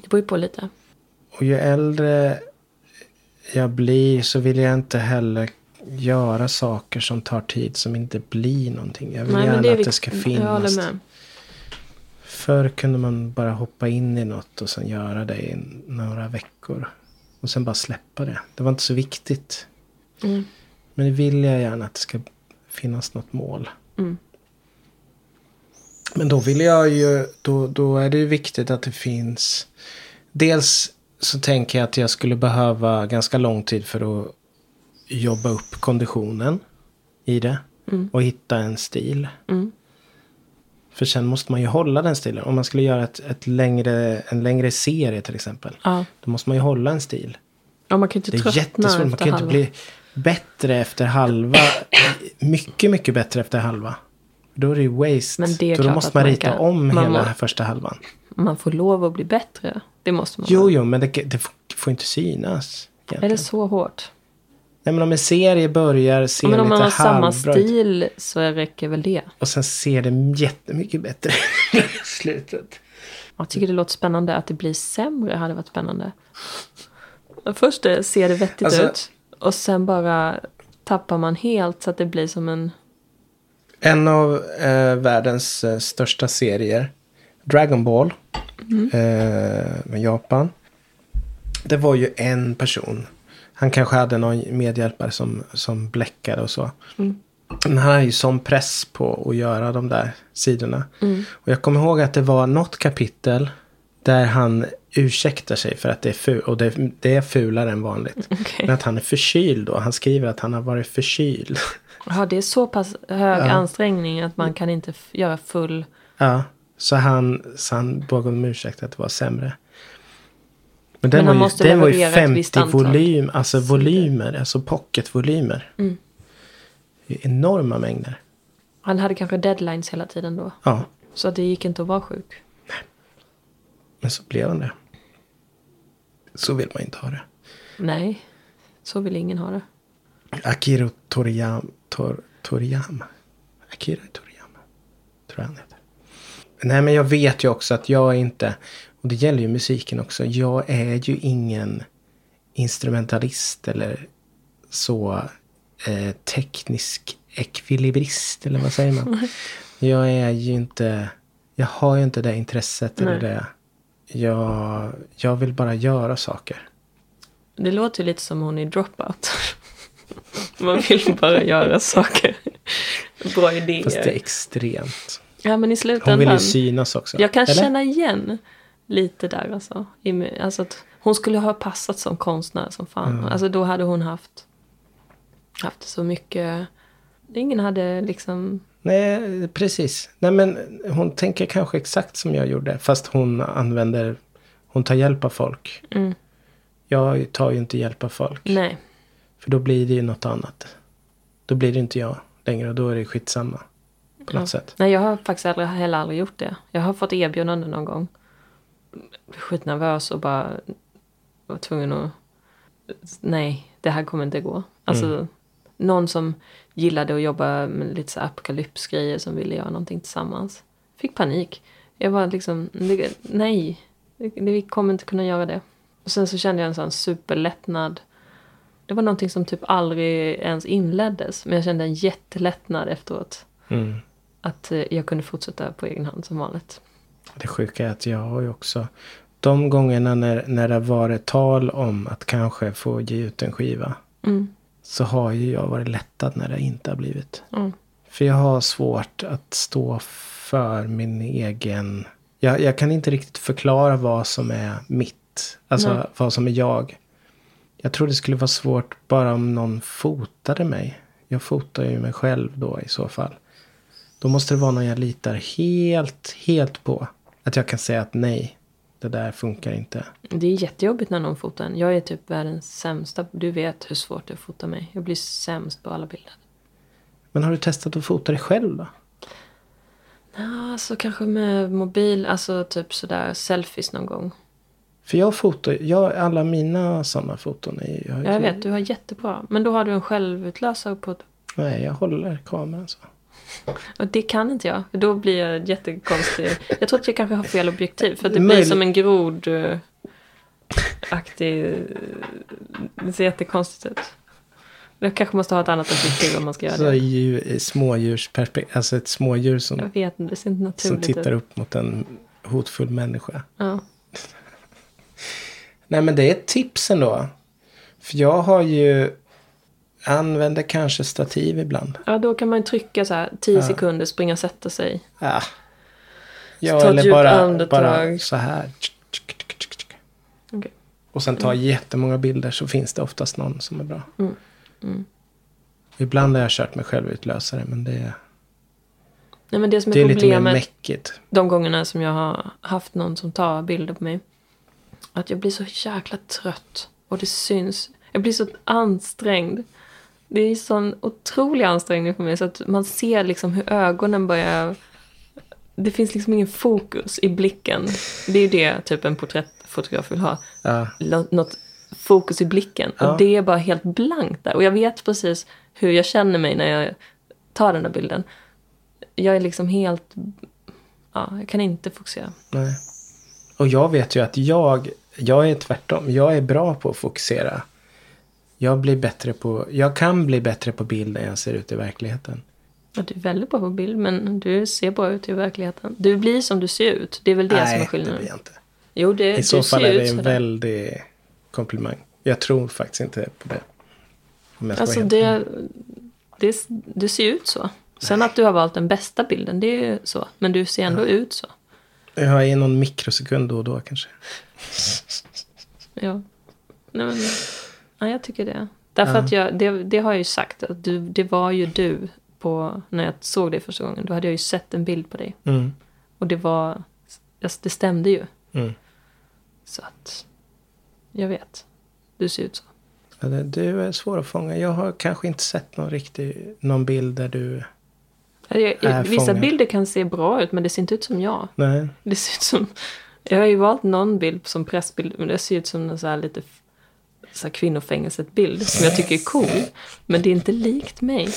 C: Det beror ju på lite.
B: och ju äldre jag blir så vill jag inte heller göra saker som tar tid som inte blir någonting. Jag vill gärna att det ska
C: viktigt. Jag
B: finnas.
C: håller med.
B: Förr kunde man bara hoppa in i något och sen göra det i några veckor. Och sen bara släppa det. Det var inte så viktigt.
C: Mm.
B: Men nu vill jag gärna att det ska finnas något mål.
C: Mm.
B: Men då vill jag ju, då, då är det ju viktigt att det finns. Dels så tänker jag att jag skulle behöva ganska lång tid för att jobba upp konditionen i det. Och hitta en stil.
C: Mm.
B: För sen måste man ju hålla den stilen. Om man skulle göra ett, ett längre, en längre serie till exempel.
C: Ja.
B: Då måste man ju hålla en stil.
C: ja, man kan ju inte
B: Det är
C: tröttna
B: jättesvårt. Man
C: efter
B: kan ju inte
C: halva.
B: bli bättre efter halva. Mycket, mycket bättre efter halva. Då är det ju waste.
C: Men det är
B: då
C: klart
B: måste
C: att
B: man
C: man
B: rita
C: kan-
B: om
C: man
B: hela
C: må-
B: första halvan.
C: Man får lov att bli bättre. Det måste man.
B: Jo, jo, men det, det får- får inte synas.
C: är
B: egentligen.
C: det så hårt?
B: Nej, men om en serie börjar se
C: Ja, men om
B: lite
C: man har samma
B: halvbra ut
C: stil så räcker väl det.
B: och sen ser det jättemycket bättre ut i slutet.
C: Jag tycker det låter spännande att det blir sämre hade varit spännande. Först eh, ser det vettigt
B: Alltså-
C: ut och sen bara tappar man helt så att det blir som en...
B: En av eh, världens eh, största serier, Dragon Ball, eh, med Japan. Det var ju en person. Han kanske hade någon medhjälpare som, som bläckade och så. Men han hade ju sån press på att göra de där sidorna. Och jag kommer ihåg att det var något kapitel Där han ursäktar sig för att det är ful, och det, det är fulare än vanligt.
C: Okej.
B: Men att han är förkyld då. Han skriver att han har varit förkyld.
C: Ja, det är så pass hög ansträngning att man kan inte f- göra full...
B: Ja, så han, så han bad om ursäkt att det var sämre. Men
C: Men
B: den
C: han
B: var
C: måste
B: ju, den var ju
C: leverera ett visst
B: 50
C: antal
B: volym, alltså volymer, alltså pocketvolymer.
C: Mm.
B: Det är enorma mängder.
C: Han hade kanske deadlines hela tiden då.
B: Ja,
C: Så det gick inte att vara sjuk.
B: men så blev han det. Så vill man inte ha det.
C: Nej, så vill ingen ha det.
B: Akira Toriyama. Tor, Toriyama. Akira Toriyama. Tror jag han heter. Nej men jag vet ju också att jag är inte. Och det gäller ju musiken också. Jag är ju ingen instrumentalist eller så eh, teknisk ekvilibrist. Eller vad säger man? jag är ju inte. Jag har ju inte det intresset. Eller
C: Nej.
B: det. Jag, jag vill bara göra saker.
C: Det låter ju lite som hon i Dropout. Man vill bara göra saker. Bra idéer.
B: Fast det är extremt.
C: Ja, men i
B: Hon vill
C: slutändan.
B: ju synas också.
C: Jag kan
B: eller?
C: känna igen lite där alltså. I mig. alltså att hon skulle ha passat som konstnär som fan. Alltså då hade hon haft, haft så mycket. Ingen hade liksom,
B: Nej, precis. Nej, men hon tänker kanske exakt som jag gjorde. Fast hon använder... Hon tar hjälp av folk.
C: Mm.
B: Jag tar ju inte hjälp av folk.
C: nej.
B: För då blir det ju något annat. Då blir det inte jag längre och då är det skitsamma. På något sätt.
C: Nej, jag har faktiskt aldrig, heller aldrig gjort det. Jag har fått erbjudanden någon gång. Blev Skitnervös och bara var tvungen att... Nej, det här kommer inte gå. Alltså, någon som gillade att jobba med lite så här apokalypsgrejer som ville göra någonting tillsammans. Fick panik. Jag var liksom, det- nej, det- vi kommer inte kunna göra det. Och sen så kände jag en sån superlättnad. Det var någonting som typ aldrig ens inleddes, men jag kände en jättelättnad efteråt
B: Mm.
C: att eh, jag kunde fortsätta på egen hand som vanligt.
B: Det sjuka är att jag har ju också... De gångerna när, när det har varit tal om att kanske få ge ut en skiva.
C: Mm.
B: Så har ju jag varit lättad när det inte har blivit.
C: Mm.
B: För jag har svårt att stå för min egen... Jag, jag kan inte riktigt förklara vad som är mitt. Alltså
C: Nej.
B: vad som är jag. Jag tror det skulle vara svårt bara om någon fotade mig. Jag fotar ju mig själv då i så fall. Då måste det vara någon jag litar helt, helt på. Att jag kan säga att nej, det där funkar inte.
C: Det är jättejobbigt när någon fotar en. Jag är typ världens sämsta. Du vet hur svårt det är att fota mig. Jag blir sämst på alla bilder.
B: Men har du testat att fota dig själv då?
C: Ja, Alltså kanske med mobil, alltså typ sådär selfies någon gång.
B: För jag fotar, jag, alla mina sådana foton är ju-
C: Ja, jag vet, du har jättebra. Men då har du en självutlösare på...
B: Nej, jag håller kameran så.
C: Och det kan inte jag. Då blir jag jättekonstig. Jag tror att jag kanske har fel objektiv. För att det blir
B: Möjligt.
C: som en grod... eh, Aktig... eh, Det ser jättekonstigt ut. Jag kanske måste ha ett annat objektiv om man ska göra
B: Så
C: det.
B: djur, smådjursperspektiv, alltså ett smådjur som,
C: Jag vet inte, det ser inte
B: som
C: naturligt
B: tittar
C: ut.
B: upp mot en hotfull människa.
C: Ja.
B: Nej men det är ett tips ändå. För jag har ju, använder kanske stativ ibland.
C: ja, då kan man ju trycka så här 10 sekunder, springa och sätta sig.
B: Ah.
C: ta
B: Ja,
C: ett
B: eller
C: djupt
B: bara,
C: andetag.
B: bara så här.
C: Okej. Mm.
B: Och sen ta jättemånga bilder så finns det oftast någon som är bra.
C: Mm.
B: Ibland har jag kört med självutlösare men det, är-
C: Nej, men det som är,
B: det är lite mer
C: problemet
B: mäckigt.
C: de gångerna som jag har haft någon som tar bilder på mig, att jag blir så jäkla trött och det syns. Jag blir så ansträngd. Det är en sån otrolig ansträngning för mig så att man ser liksom hur ögonen börjar... Det finns liksom ingen fokus i blicken. Det är ju det typ en porträttfotograf vill ha.
B: Ja.
C: lo- något fokus i blicken.
B: Ja.
C: Och det är bara helt blankt där. Och jag vet precis hur jag känner mig när jag tar den där bilden. Jag är liksom helt... Ja, jag kan inte fokusera.
B: Nej. Och jag vet ju att jag, jag är tvärtom. Jag är bra på att fokusera. Jag blir bättre på, jag kan bli bättre på bild än jag ser ut i verkligheten.
C: Ja, du är väldigt bra på bild, men du ser bra ut i verkligheten. Du blir som du ser ut. Det är väl det som är
B: Nej, det
C: skillnaden.
B: blir jag inte.
C: Jo, det,
B: I
C: du
B: så fall
C: ser
B: är
C: ut
B: det en
C: sådär.
B: väldig komplimang. Jag tror faktiskt inte på det. Om jag ska
C: Alltså
B: vara helt-
C: det, det, det ser ut så. Sen att du har valt den bästa bilden, det är ju så. Men du ser ändå ut så.
B: Jag är någon mikrosekund då och då kanske.
C: Ja. Nej, men, ja, jag tycker det. Därför
B: Ja.
C: att jag, det, det har jag ju sagt, att du, det var ju du på, när jag såg dig första gången. Då hade jag ju sett en bild på dig.
B: Mm.
C: Och det var, alltså, det stämde ju.
B: Mm.
C: Så att, jag vet. Du ser ut så.
B: Ja, det- Du är svår att fånga. Jag har kanske inte sett någon riktig, någon bild där du...
C: Alltså, Jag,
B: Är
C: vissa
B: fångad.
C: bilder kan se bra ut, men det ser inte ut som jag.
B: Nej.
C: Det ser ut som... Jag har ju valt någon bild som pressbild, men det ser ut som en så här lite så här kvinnofängelset-bild som jag tycker är cool. Men det är inte likt mig.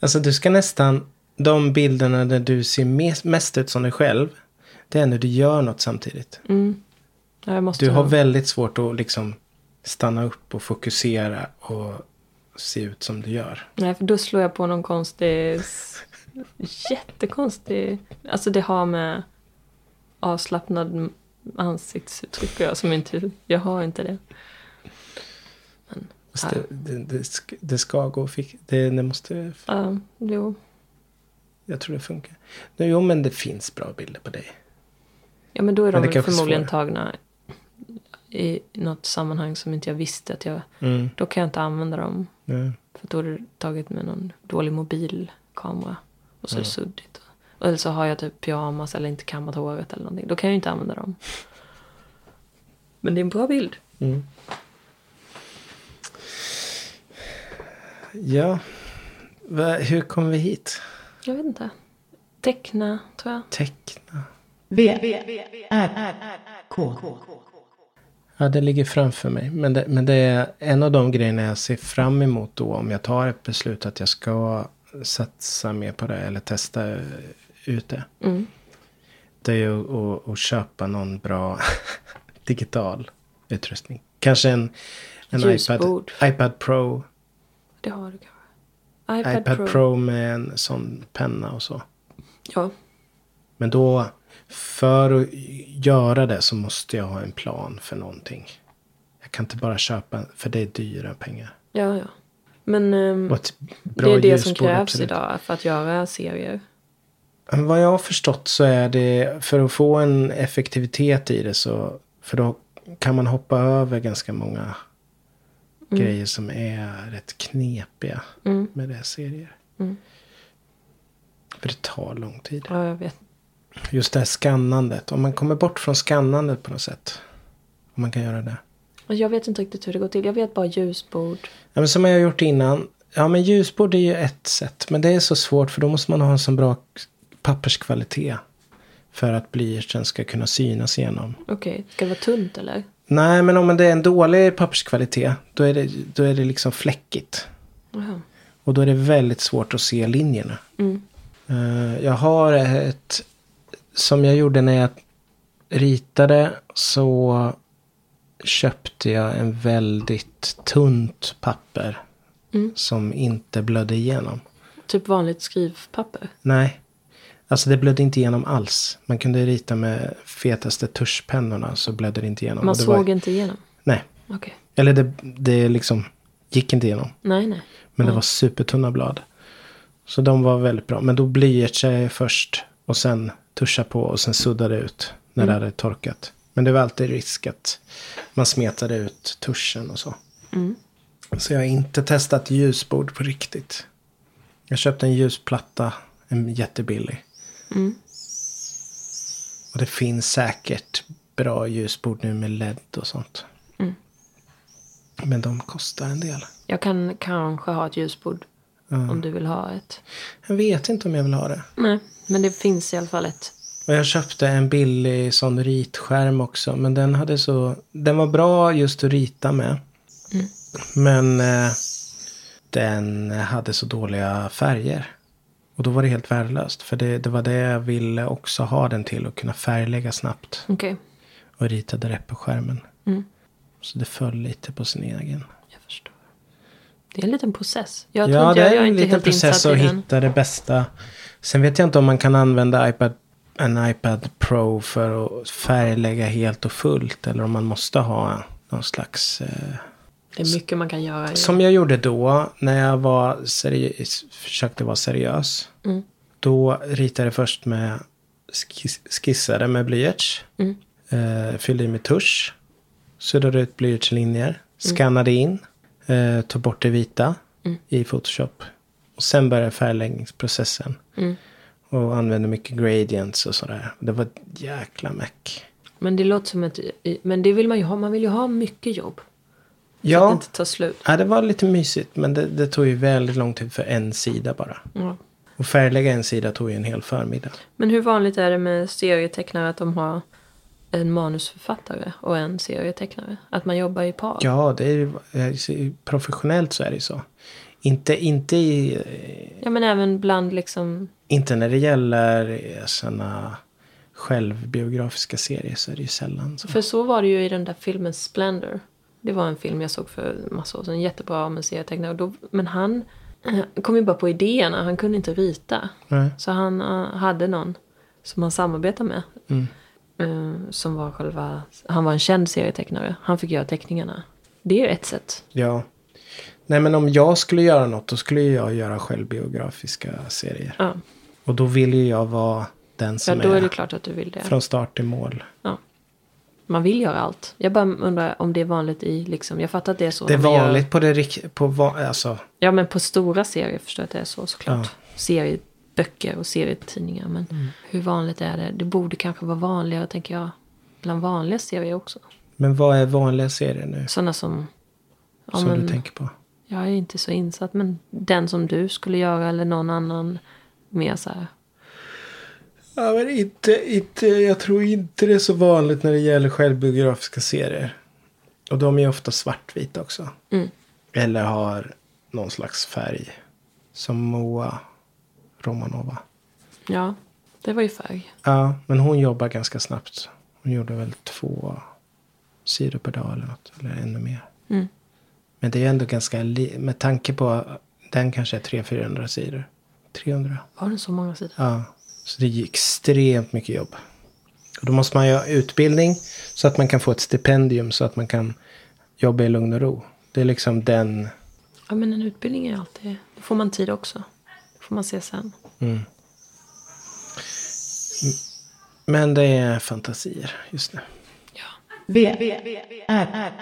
B: Alltså du ska nästan... De bilderna där du ser mes- mest ut som dig själv. Det är när du gör något samtidigt.
C: Mm. Ja, jag måste
B: Du har
C: nog-
B: väldigt svårt att liksom stanna upp och fokusera och se ut som du gör.
C: Nej, för då slår jag på någon konstig... s- Jättekonstig... Alltså det har med avslappnad ansiktsuttryck att göra som inte... Jag har inte det.
B: Fast Det, det, det, sk- det ska gå att fix- det, det måste...
C: Ja, jo.
B: Jag tror det funkar. Nu, jo, men det finns bra bilder på dig.
C: Ja, men då är
B: Men
C: de
B: det
C: väl
B: kanske är
C: förmodligen tagna i något sammanhang som inte jag visste att jag...
B: Mm.
C: Då kan jag inte använda dem.
B: Ja.
C: För då har du tagit med någon dålig mobilkamera. Och så är det
B: Mm.
C: suddigt. Och- Eller så har jag typ pyjamas eller inte kammat håret eller någonting. Då kan jag ju inte använda dem. Men det är en bra bild.
B: Mm. Ja. Va, hur kom vi hit?
C: Jag vet inte. Teckna, tror jag.
B: Teckna.
A: V, R, K.
B: Ja, det ligger framför mig. Men det, men det är en av de grejerna jag ser fram emot då. Om jag tar ett beslut att jag ska satsa mer på det eller testa eh, ut det.
C: Mm.
B: Det är ju att, att, att köpa någon bra digital utrustning. Kanske en, en iPad,
C: Ljusbord.
B: iPad Pro.
C: Det har du kanske. iPad,
B: iPad,
C: Pro.
B: Pro. med en sån penna och så.
C: Ja.
B: Men då, för att göra det så måste jag ha en plan för någonting. Jag kan inte bara köpa, för det är dyra pengar.
C: ja, ja. Men ehm,
B: Och ett bra
C: det är det som
B: ljusbord,
C: krävs
B: absolut.
C: idag för att göra serier.
B: Men Vad jag har förstått så är det, för att få en effektivitet i det så, för då kan man hoppa över ganska många grejer som är rätt knepiga
C: Mm.
B: med det här serier.
C: Mm.
B: För det tar lång tid.
C: Ja, jag vet.
B: Just det här skannandet. Om man kommer bort från skannandet på något sätt. Om man kan göra det.
C: Och Jag vet inte riktigt hur det går till. Jag vet bara ljusbord.
B: Ja, men som jag har gjort innan. Ja men ljusbord är ju ett sätt. Men det är så svårt för då måste man ha en så bra k- papperskvalitet. För att blyertsen ska kunna synas igenom.
C: Okej, ska det vara tunt eller?
B: Nej men om det är en dålig papperskvalitet. Då är det, då är det liksom fläckigt.
C: Jaha.
B: Och då är det väldigt svårt att se linjerna.
C: Mm.
B: Eh, Jag har ett som jag gjorde när jag ritade så köpte jag en väldigt tunt papper
C: Mm.
B: som inte blödde igenom.
C: Typ vanligt skrivpapper.
B: Nej, alltså det blödde inte igenom alls. Man kunde rita med fetaste tuschpennorna så blödde det inte igenom.
C: Man
B: Och det
C: såg
B: var,
C: inte igenom.
B: Nej,
C: Okej.
B: eller det, det liksom gick inte igenom.
C: Nej, nej.
B: Men det var supertunna blad. Så de var väldigt bra. Men då blyert sig först och sen tuscha på och sen sudda det ut när det hade torkat. Men det var alltid risk att man smetade ut tuschen och så. Så jag har inte testat ljusbord på riktigt. Jag köpte en ljusplatta, en jättebillig. Och det finns säkert bra ljusbord nu med LED och sånt. Men de kostar en del.
C: Jag kan kanske ha ett ljusbord. Om du vill ha ett.
B: Jag vet inte om jag vill ha det.
C: Nej, men det finns i alla fall ett.
B: Och jag köpte en billig sån ritskärm också. Men den hade så... Den var bra just att rita med. Men eh, den hade så dåliga färger. Och då var det helt värdelöst. För det, det var det jag ville också ha den till. Att kunna färglägga snabbt.
C: Okej,
B: Och rita direkt på skärmen. Så det föll lite på sin egen.
C: jag förstår. Det är en liten process. Jag tror
B: Ja,
C: inte,
B: det
C: jag,
B: är
C: jag är
B: en
C: inte
B: liten
C: helt
B: process
C: insatt i
B: att
C: den.
B: hitta det bästa. Sen vet jag inte om man kan använda iPad, en iPad Pro för att färglägga helt och fullt. Eller om man måste ha någon slags... Eh,
C: Det är mycket man kan göra. i-
B: som jag gjorde då när jag var
C: Mm.
B: seri- försökte vara seriös. Då ritade jag först med skis- skissade med blyerts.
C: Mm.
B: Eh, fyllde i med tusch. Suddade ut blyertslinjer.
C: Mm.
B: Skannade in. Eh, tog bort det vita i Photoshop. Och sen började färgläggningsprocessen.
C: Mm.
B: Och använde mycket gradients och sådär. Det var ett jäkla meck.
C: Men det låter som ett... Men det vill man ju ha. Man vill ju ha mycket jobb. Så att det
B: Ja,
C: inte tar slut.
B: ja, det var lite mysigt. Men det, det tog ju väldigt lång tid för en sida bara.
C: Ja.
B: Och färglägga en sida tog ju en hel förmiddag.
C: Men hur vanligt är det med serietecknare att de har en manusförfattare och en serietecknare? Att man jobbar i par?
B: Ja, det är, ju- eh, professionellt så är det ju så. Inte, inte, i, eh,
C: Ja, men även bland liksom...
B: inte när det gäller eh, såna självbiografiska serier så är det ju sällan så.
C: För så var det ju i den där filmen Splendor. Det var en film jag såg för massa år sedan. Jättebra om en serietecknare. Och då- Men han eh, kom ju bara på idéerna. Han kunde inte rita.
B: Nej.
C: Så han eh, hade någon som han samarbetade med.
B: Mm.
C: Eh, Som var själva... Han var en känd serietecknare. Han fick göra teckningarna. Det är ett sätt.
B: Ja. Nej men om jag skulle göra något då skulle ju jag göra självbiografiska serier.
C: Ja,
B: Och då vill ju jag vara den
C: ja
B: som
C: då är
B: är,
C: det klart att du vill det.
B: från start till mål.
C: Ja. Man vill göra allt. Jag bara undrar om det är vanligt i liksom... Jag fattar att det är så.
B: Det är
C: när vi Gör,
B: vanligt på det rik- på va- alltså,
C: ja, men på stora serier förstår jag att det är så såklart.
B: Ja. Mm.
C: Serieböcker och serietidningar. Men hur vanligt är det? Det borde kanske vara vanligare, tänker jag. Bland vanliga serier också.
B: Men vad är vanliga serier nu?
C: Sådana som... Ja,
B: som
C: men,
B: du tänker på?
C: Jag är inte så insatt, men den som du skulle göra eller någon annan mer så här.
B: Ja, men inte, inte, jag tror inte det är så vanligt när det gäller självbiografiska serier. Och de är ofta svartvita också.
C: Mm.
B: Eller har någon slags färg. Som Moa Romanova.
C: Ja, det var ju färg.
B: Ja, men hon jobbar ganska snabbt. Hon gjorde väl två sidor per dag eller något. Eller ännu mer.
C: Mm.
B: Men det är ändå ganska, li- med tanke på den kanske är 300-400 sidor. 300.
C: Var den så många sidor?
B: Ja, så det är ju extremt mycket jobb. Och då måste man ju ha utbildning så att man kan få ett stipendium så att man kan jobba i lugn och ro. Det är liksom den...
C: Ja, men en utbildning är alltid... Då får man tid också. Det får man se sen.
B: Men det är fantasier just nu.
C: Ja.
A: V, V, R, R,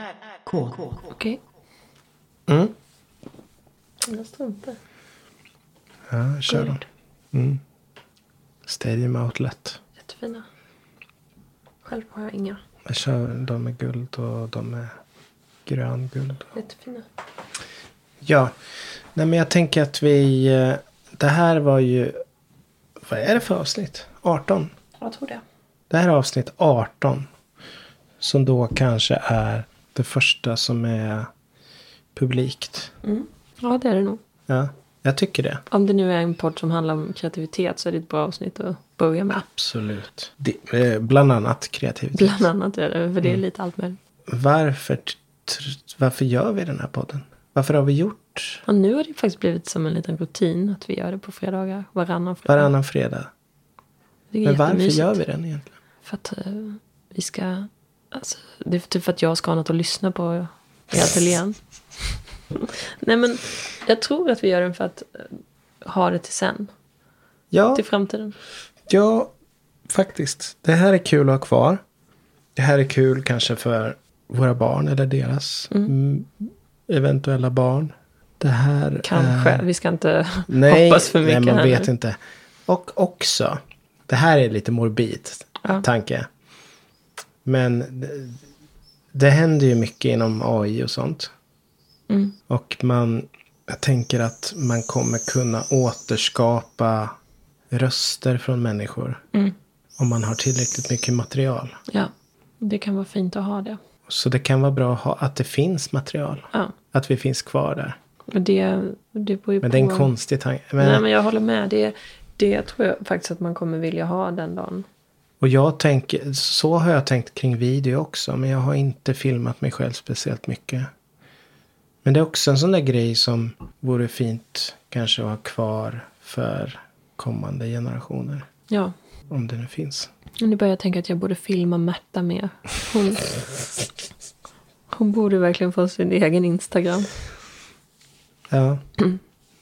A: K.
C: Okej.
B: Mm.
C: Mina strumpor.
B: Ja, kör Mm. dem.
C: Guld.
B: Stadium Outlet.
C: Jättefina. Själv har jag inga.
B: Jag kör dem med guld och de med grönguld.
C: Jättefina.
B: Ja, nej men jag tänker att vi... eh, Det här var ju... Vad är det för avsnitt? 18?
C: Jag tror det.
B: Det här är avsnitt 18. Som då kanske är det första som är publikt.
C: Ja, det är det nog.
B: Ja, jag tycker det.
C: Om det nu är en podd som handlar om kreativitet så är det ett bra avsnitt att börja med.
B: Absolut. Det, eh, bland annat kreativitet.
C: Bland annat är det, för det är lite allt möjligt.
B: Varför, t- tr- varför gör vi den här podden? Varför har vi gjort
C: Och nu har det faktiskt blivit som en liten rutin att vi gör det på fredagar. Varannan fredag.
B: varannan fredag?
C: det är
B: Men varför
C: jättemysigt.
B: gör vi den egentligen?
C: För att eh, vi ska... Alltså, det är typ för att jag ska ha något att lyssna på i ateljén. Nej men jag tror att vi gör den för att eh, ha det till sen.
B: Ja,
C: Till framtiden.
B: ja, faktiskt. Det här är kul att ha kvar. Det här är kul kanske för våra barn eller deras mm, eventuella barn. Det här
C: Kanske.
B: är...
C: Vi ska inte
B: Eh. Nej,
C: hoppas för mycket
B: nej, man
C: här
B: vet
C: nu.
B: inte. Och också, det här är lite morbid
C: Ja.
B: tanke. Men det, det händer ju mycket inom AI och sånt.
C: Mm.
B: Och man, jag tänker att man kommer kunna återskapa röster från människor.
C: Mm.
B: Om man har tillräckligt mycket material.
C: Ja. Det kan vara fint att ha det.
B: Så det kan vara bra att, ha, att det finns material.
C: Ja.
B: Att vi finns kvar där.
C: Och det, det beror ju
B: Men
C: på...
B: det är en konstig tanke. Men-
C: Nej men jag håller med. Det, det tror jag faktiskt att man kommer vilja ha den dagen.
B: Och jag tänker, så har jag tänkt kring video också. Men jag har inte filmat mig själv speciellt mycket. Men det är också en sån där grej som vore fint kanske att ha kvar för kommande generationer.
C: Ja.
B: Om det nu finns.
C: Nu börjar jag tänka att jag borde filma Märta mer. Hon, hon borde verkligen få sin egen Instagram.
B: Ja.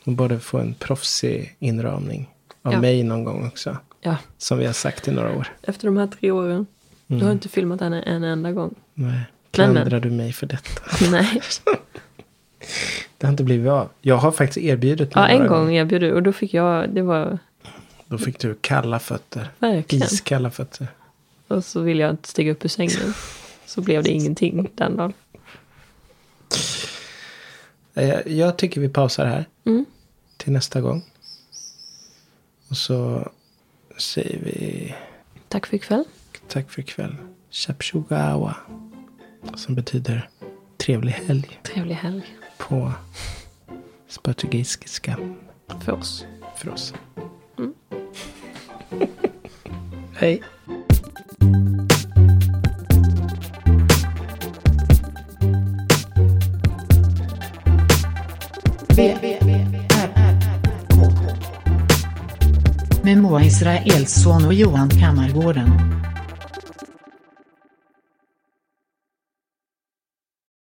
B: De borde få en proffsig inramning av
C: Ja.
B: mig någon gång också.
C: Ja,
B: Som vi har sagt i några år.
C: efter de här tre åren. Du har inte filmat henne en enda gång.
B: Nej.
C: Men, men.
B: Klandrar du mig för detta?
C: Nej.
B: Det har inte blivit av. Jag har faktiskt erbjudit mig
C: Ja, en
B: några
C: gång
B: gånger.
C: erbjöd du och då fick jag, det var
B: Då fick du kalla fötter.
C: verkligen.
B: Iskalla fötter.
C: Och så ville jag inte stiga upp ur sängen. Så blev det ingenting den dagen.
B: Eh, Jag, jag tycker vi pausar här.
C: Mm.
B: Till nästa gång. Och så säger vi
C: Tack för ikväll.
B: tack för ikväll. Chapshugawa. Som betyder trevlig helg
C: Trevlig helg
B: på portugisiska
C: för oss.
B: för oss. Hej.
A: V, V, V, R, R, K. Med Moa Israelsson och Johan Kammargården.